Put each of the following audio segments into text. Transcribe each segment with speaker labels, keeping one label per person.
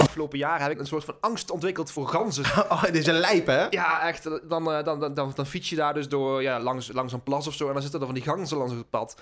Speaker 1: Afgelopen jaren heb ik een soort van angst ontwikkeld voor ganzen.
Speaker 2: Oh, dit is een lijp, hè?
Speaker 1: Ja, echt. Dan, eh, dan, dan, dan, dan fiets je daar dus door, ja, langs, langs een plas of zo. En dan zitten er van die ganzen langs het pad.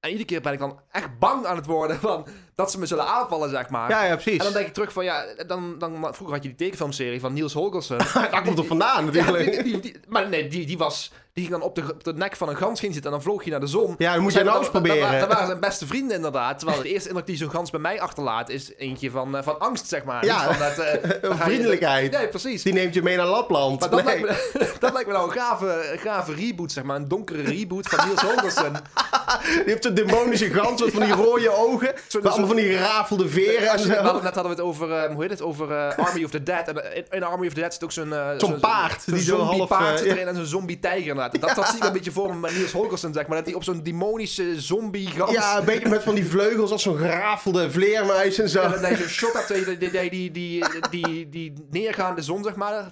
Speaker 1: En iedere keer ben ik dan echt bang aan het worden van dat ze me zullen aanvallen, zeg maar.
Speaker 2: Ja, ja, precies.
Speaker 1: En dan denk ik terug van, ja, dan, dan, vroeger had je die tekenfilmserie van Niels Holgersen.
Speaker 2: Daar komt het vandaan,
Speaker 1: Ja,
Speaker 2: natuurlijk.
Speaker 1: die, die, die- maar nee, die, die, was, die ging dan op de, op de nek van een gans ging zitten en dan vloog je naar de zon.
Speaker 2: Ja, dan moet
Speaker 1: Zij-
Speaker 2: jij nou eens
Speaker 1: dan- dan-
Speaker 2: proberen.
Speaker 1: Dan waren zijn beste vrienden inderdaad. Terwijl de eerste indruk die zo'n gans bij mij achterlaat is eentje van, eh, van angst, zeg maar.
Speaker 2: Ja,
Speaker 1: Niet van dat, eh, dan ga je-
Speaker 2: vriendelijkheid.
Speaker 1: nee, precies.
Speaker 2: Die neemt je mee naar Lapland.
Speaker 1: Maar dat,
Speaker 2: Nee.
Speaker 1: lijkt me, dat lijkt me nou een gave, een gave reboot, zeg maar. Een donkere reboot van Niels Holgersen.
Speaker 2: Die heeft zo'n demonische gans met van die rode ogen.
Speaker 1: Zo'n-
Speaker 2: met allemaal
Speaker 1: zo'n-
Speaker 2: van die gerafelde veren en
Speaker 1: Als je- we hadden-
Speaker 2: zo.
Speaker 1: Net hadden we het over, eh, hoe heet het, over eh, Army of the Dead. En eh, in, in Army of the Dead zit ook zo'n... eh,
Speaker 2: paard,
Speaker 1: Zo'n
Speaker 2: die zo
Speaker 1: zombie
Speaker 2: half,
Speaker 1: paard
Speaker 2: eh,
Speaker 1: zit
Speaker 2: ja.
Speaker 1: erin en zo'n zombie tijger inderdaad. Dat, dat zie ik een beetje voor me met Niels Holgersen, zeg maar. Dat hij op zo'n demonische zombie gans...
Speaker 2: Ja, een beetje met van die vleugels als zo'n gerafelde vleermuis en zo.
Speaker 1: En dat hij zo'n shot hebt, die, die, die, die, die, die, die neergaande zon, zeg maar.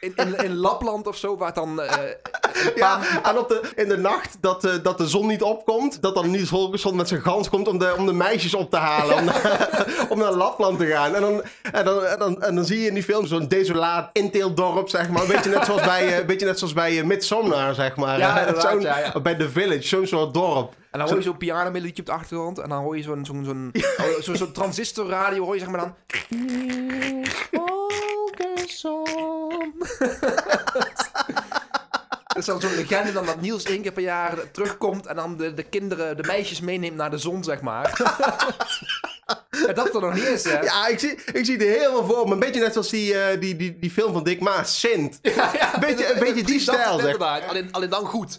Speaker 1: In, in, in Lapland of zo, waar het dan... eh,
Speaker 2: Ja, en op de, in de nacht dat, eh, dat de zon niet opkomt, dat dan Niels Holgersson met zijn gans komt om de, om de meisjes op te halen. Om, om naar Lapland te gaan. En dan, en dan, en dan, en dan zie je in die film zo'n desolaat inteeldorp, zeg maar. Een beetje net zoals bij, eh, een beetje net zoals bij eh, Midsommar, zeg maar.
Speaker 1: Ja,
Speaker 2: Eh,
Speaker 1: inderdaad,
Speaker 2: zo'n-
Speaker 1: ja, ja.
Speaker 2: Bij The Village, zo'n soort dorp.
Speaker 1: En dan hoor je zo'n pianomelodietje op de achtergrond. En dan hoor je zo'n zo'n zo'n oh, zo'n zo'n transistorradio. Hoor je zeg maar dan... Dat is dan zo'n legende dan dat Niels één keer per jaar terugkomt. En dan de, de kinderen, de meisjes meeneemt naar de zon, zeg maar. en dat er nog niet is, hè?
Speaker 2: Ja, ik zie, ik zie het heel veel voor me. Een beetje net zoals die, eh, die, die, die film van Dick Maas, Sint.
Speaker 1: Ja, ja,
Speaker 2: Beetje- een beetje die
Speaker 1: precies dat,
Speaker 2: stijl, zeg.
Speaker 1: inderdaad. Alleen, alleen dan goed.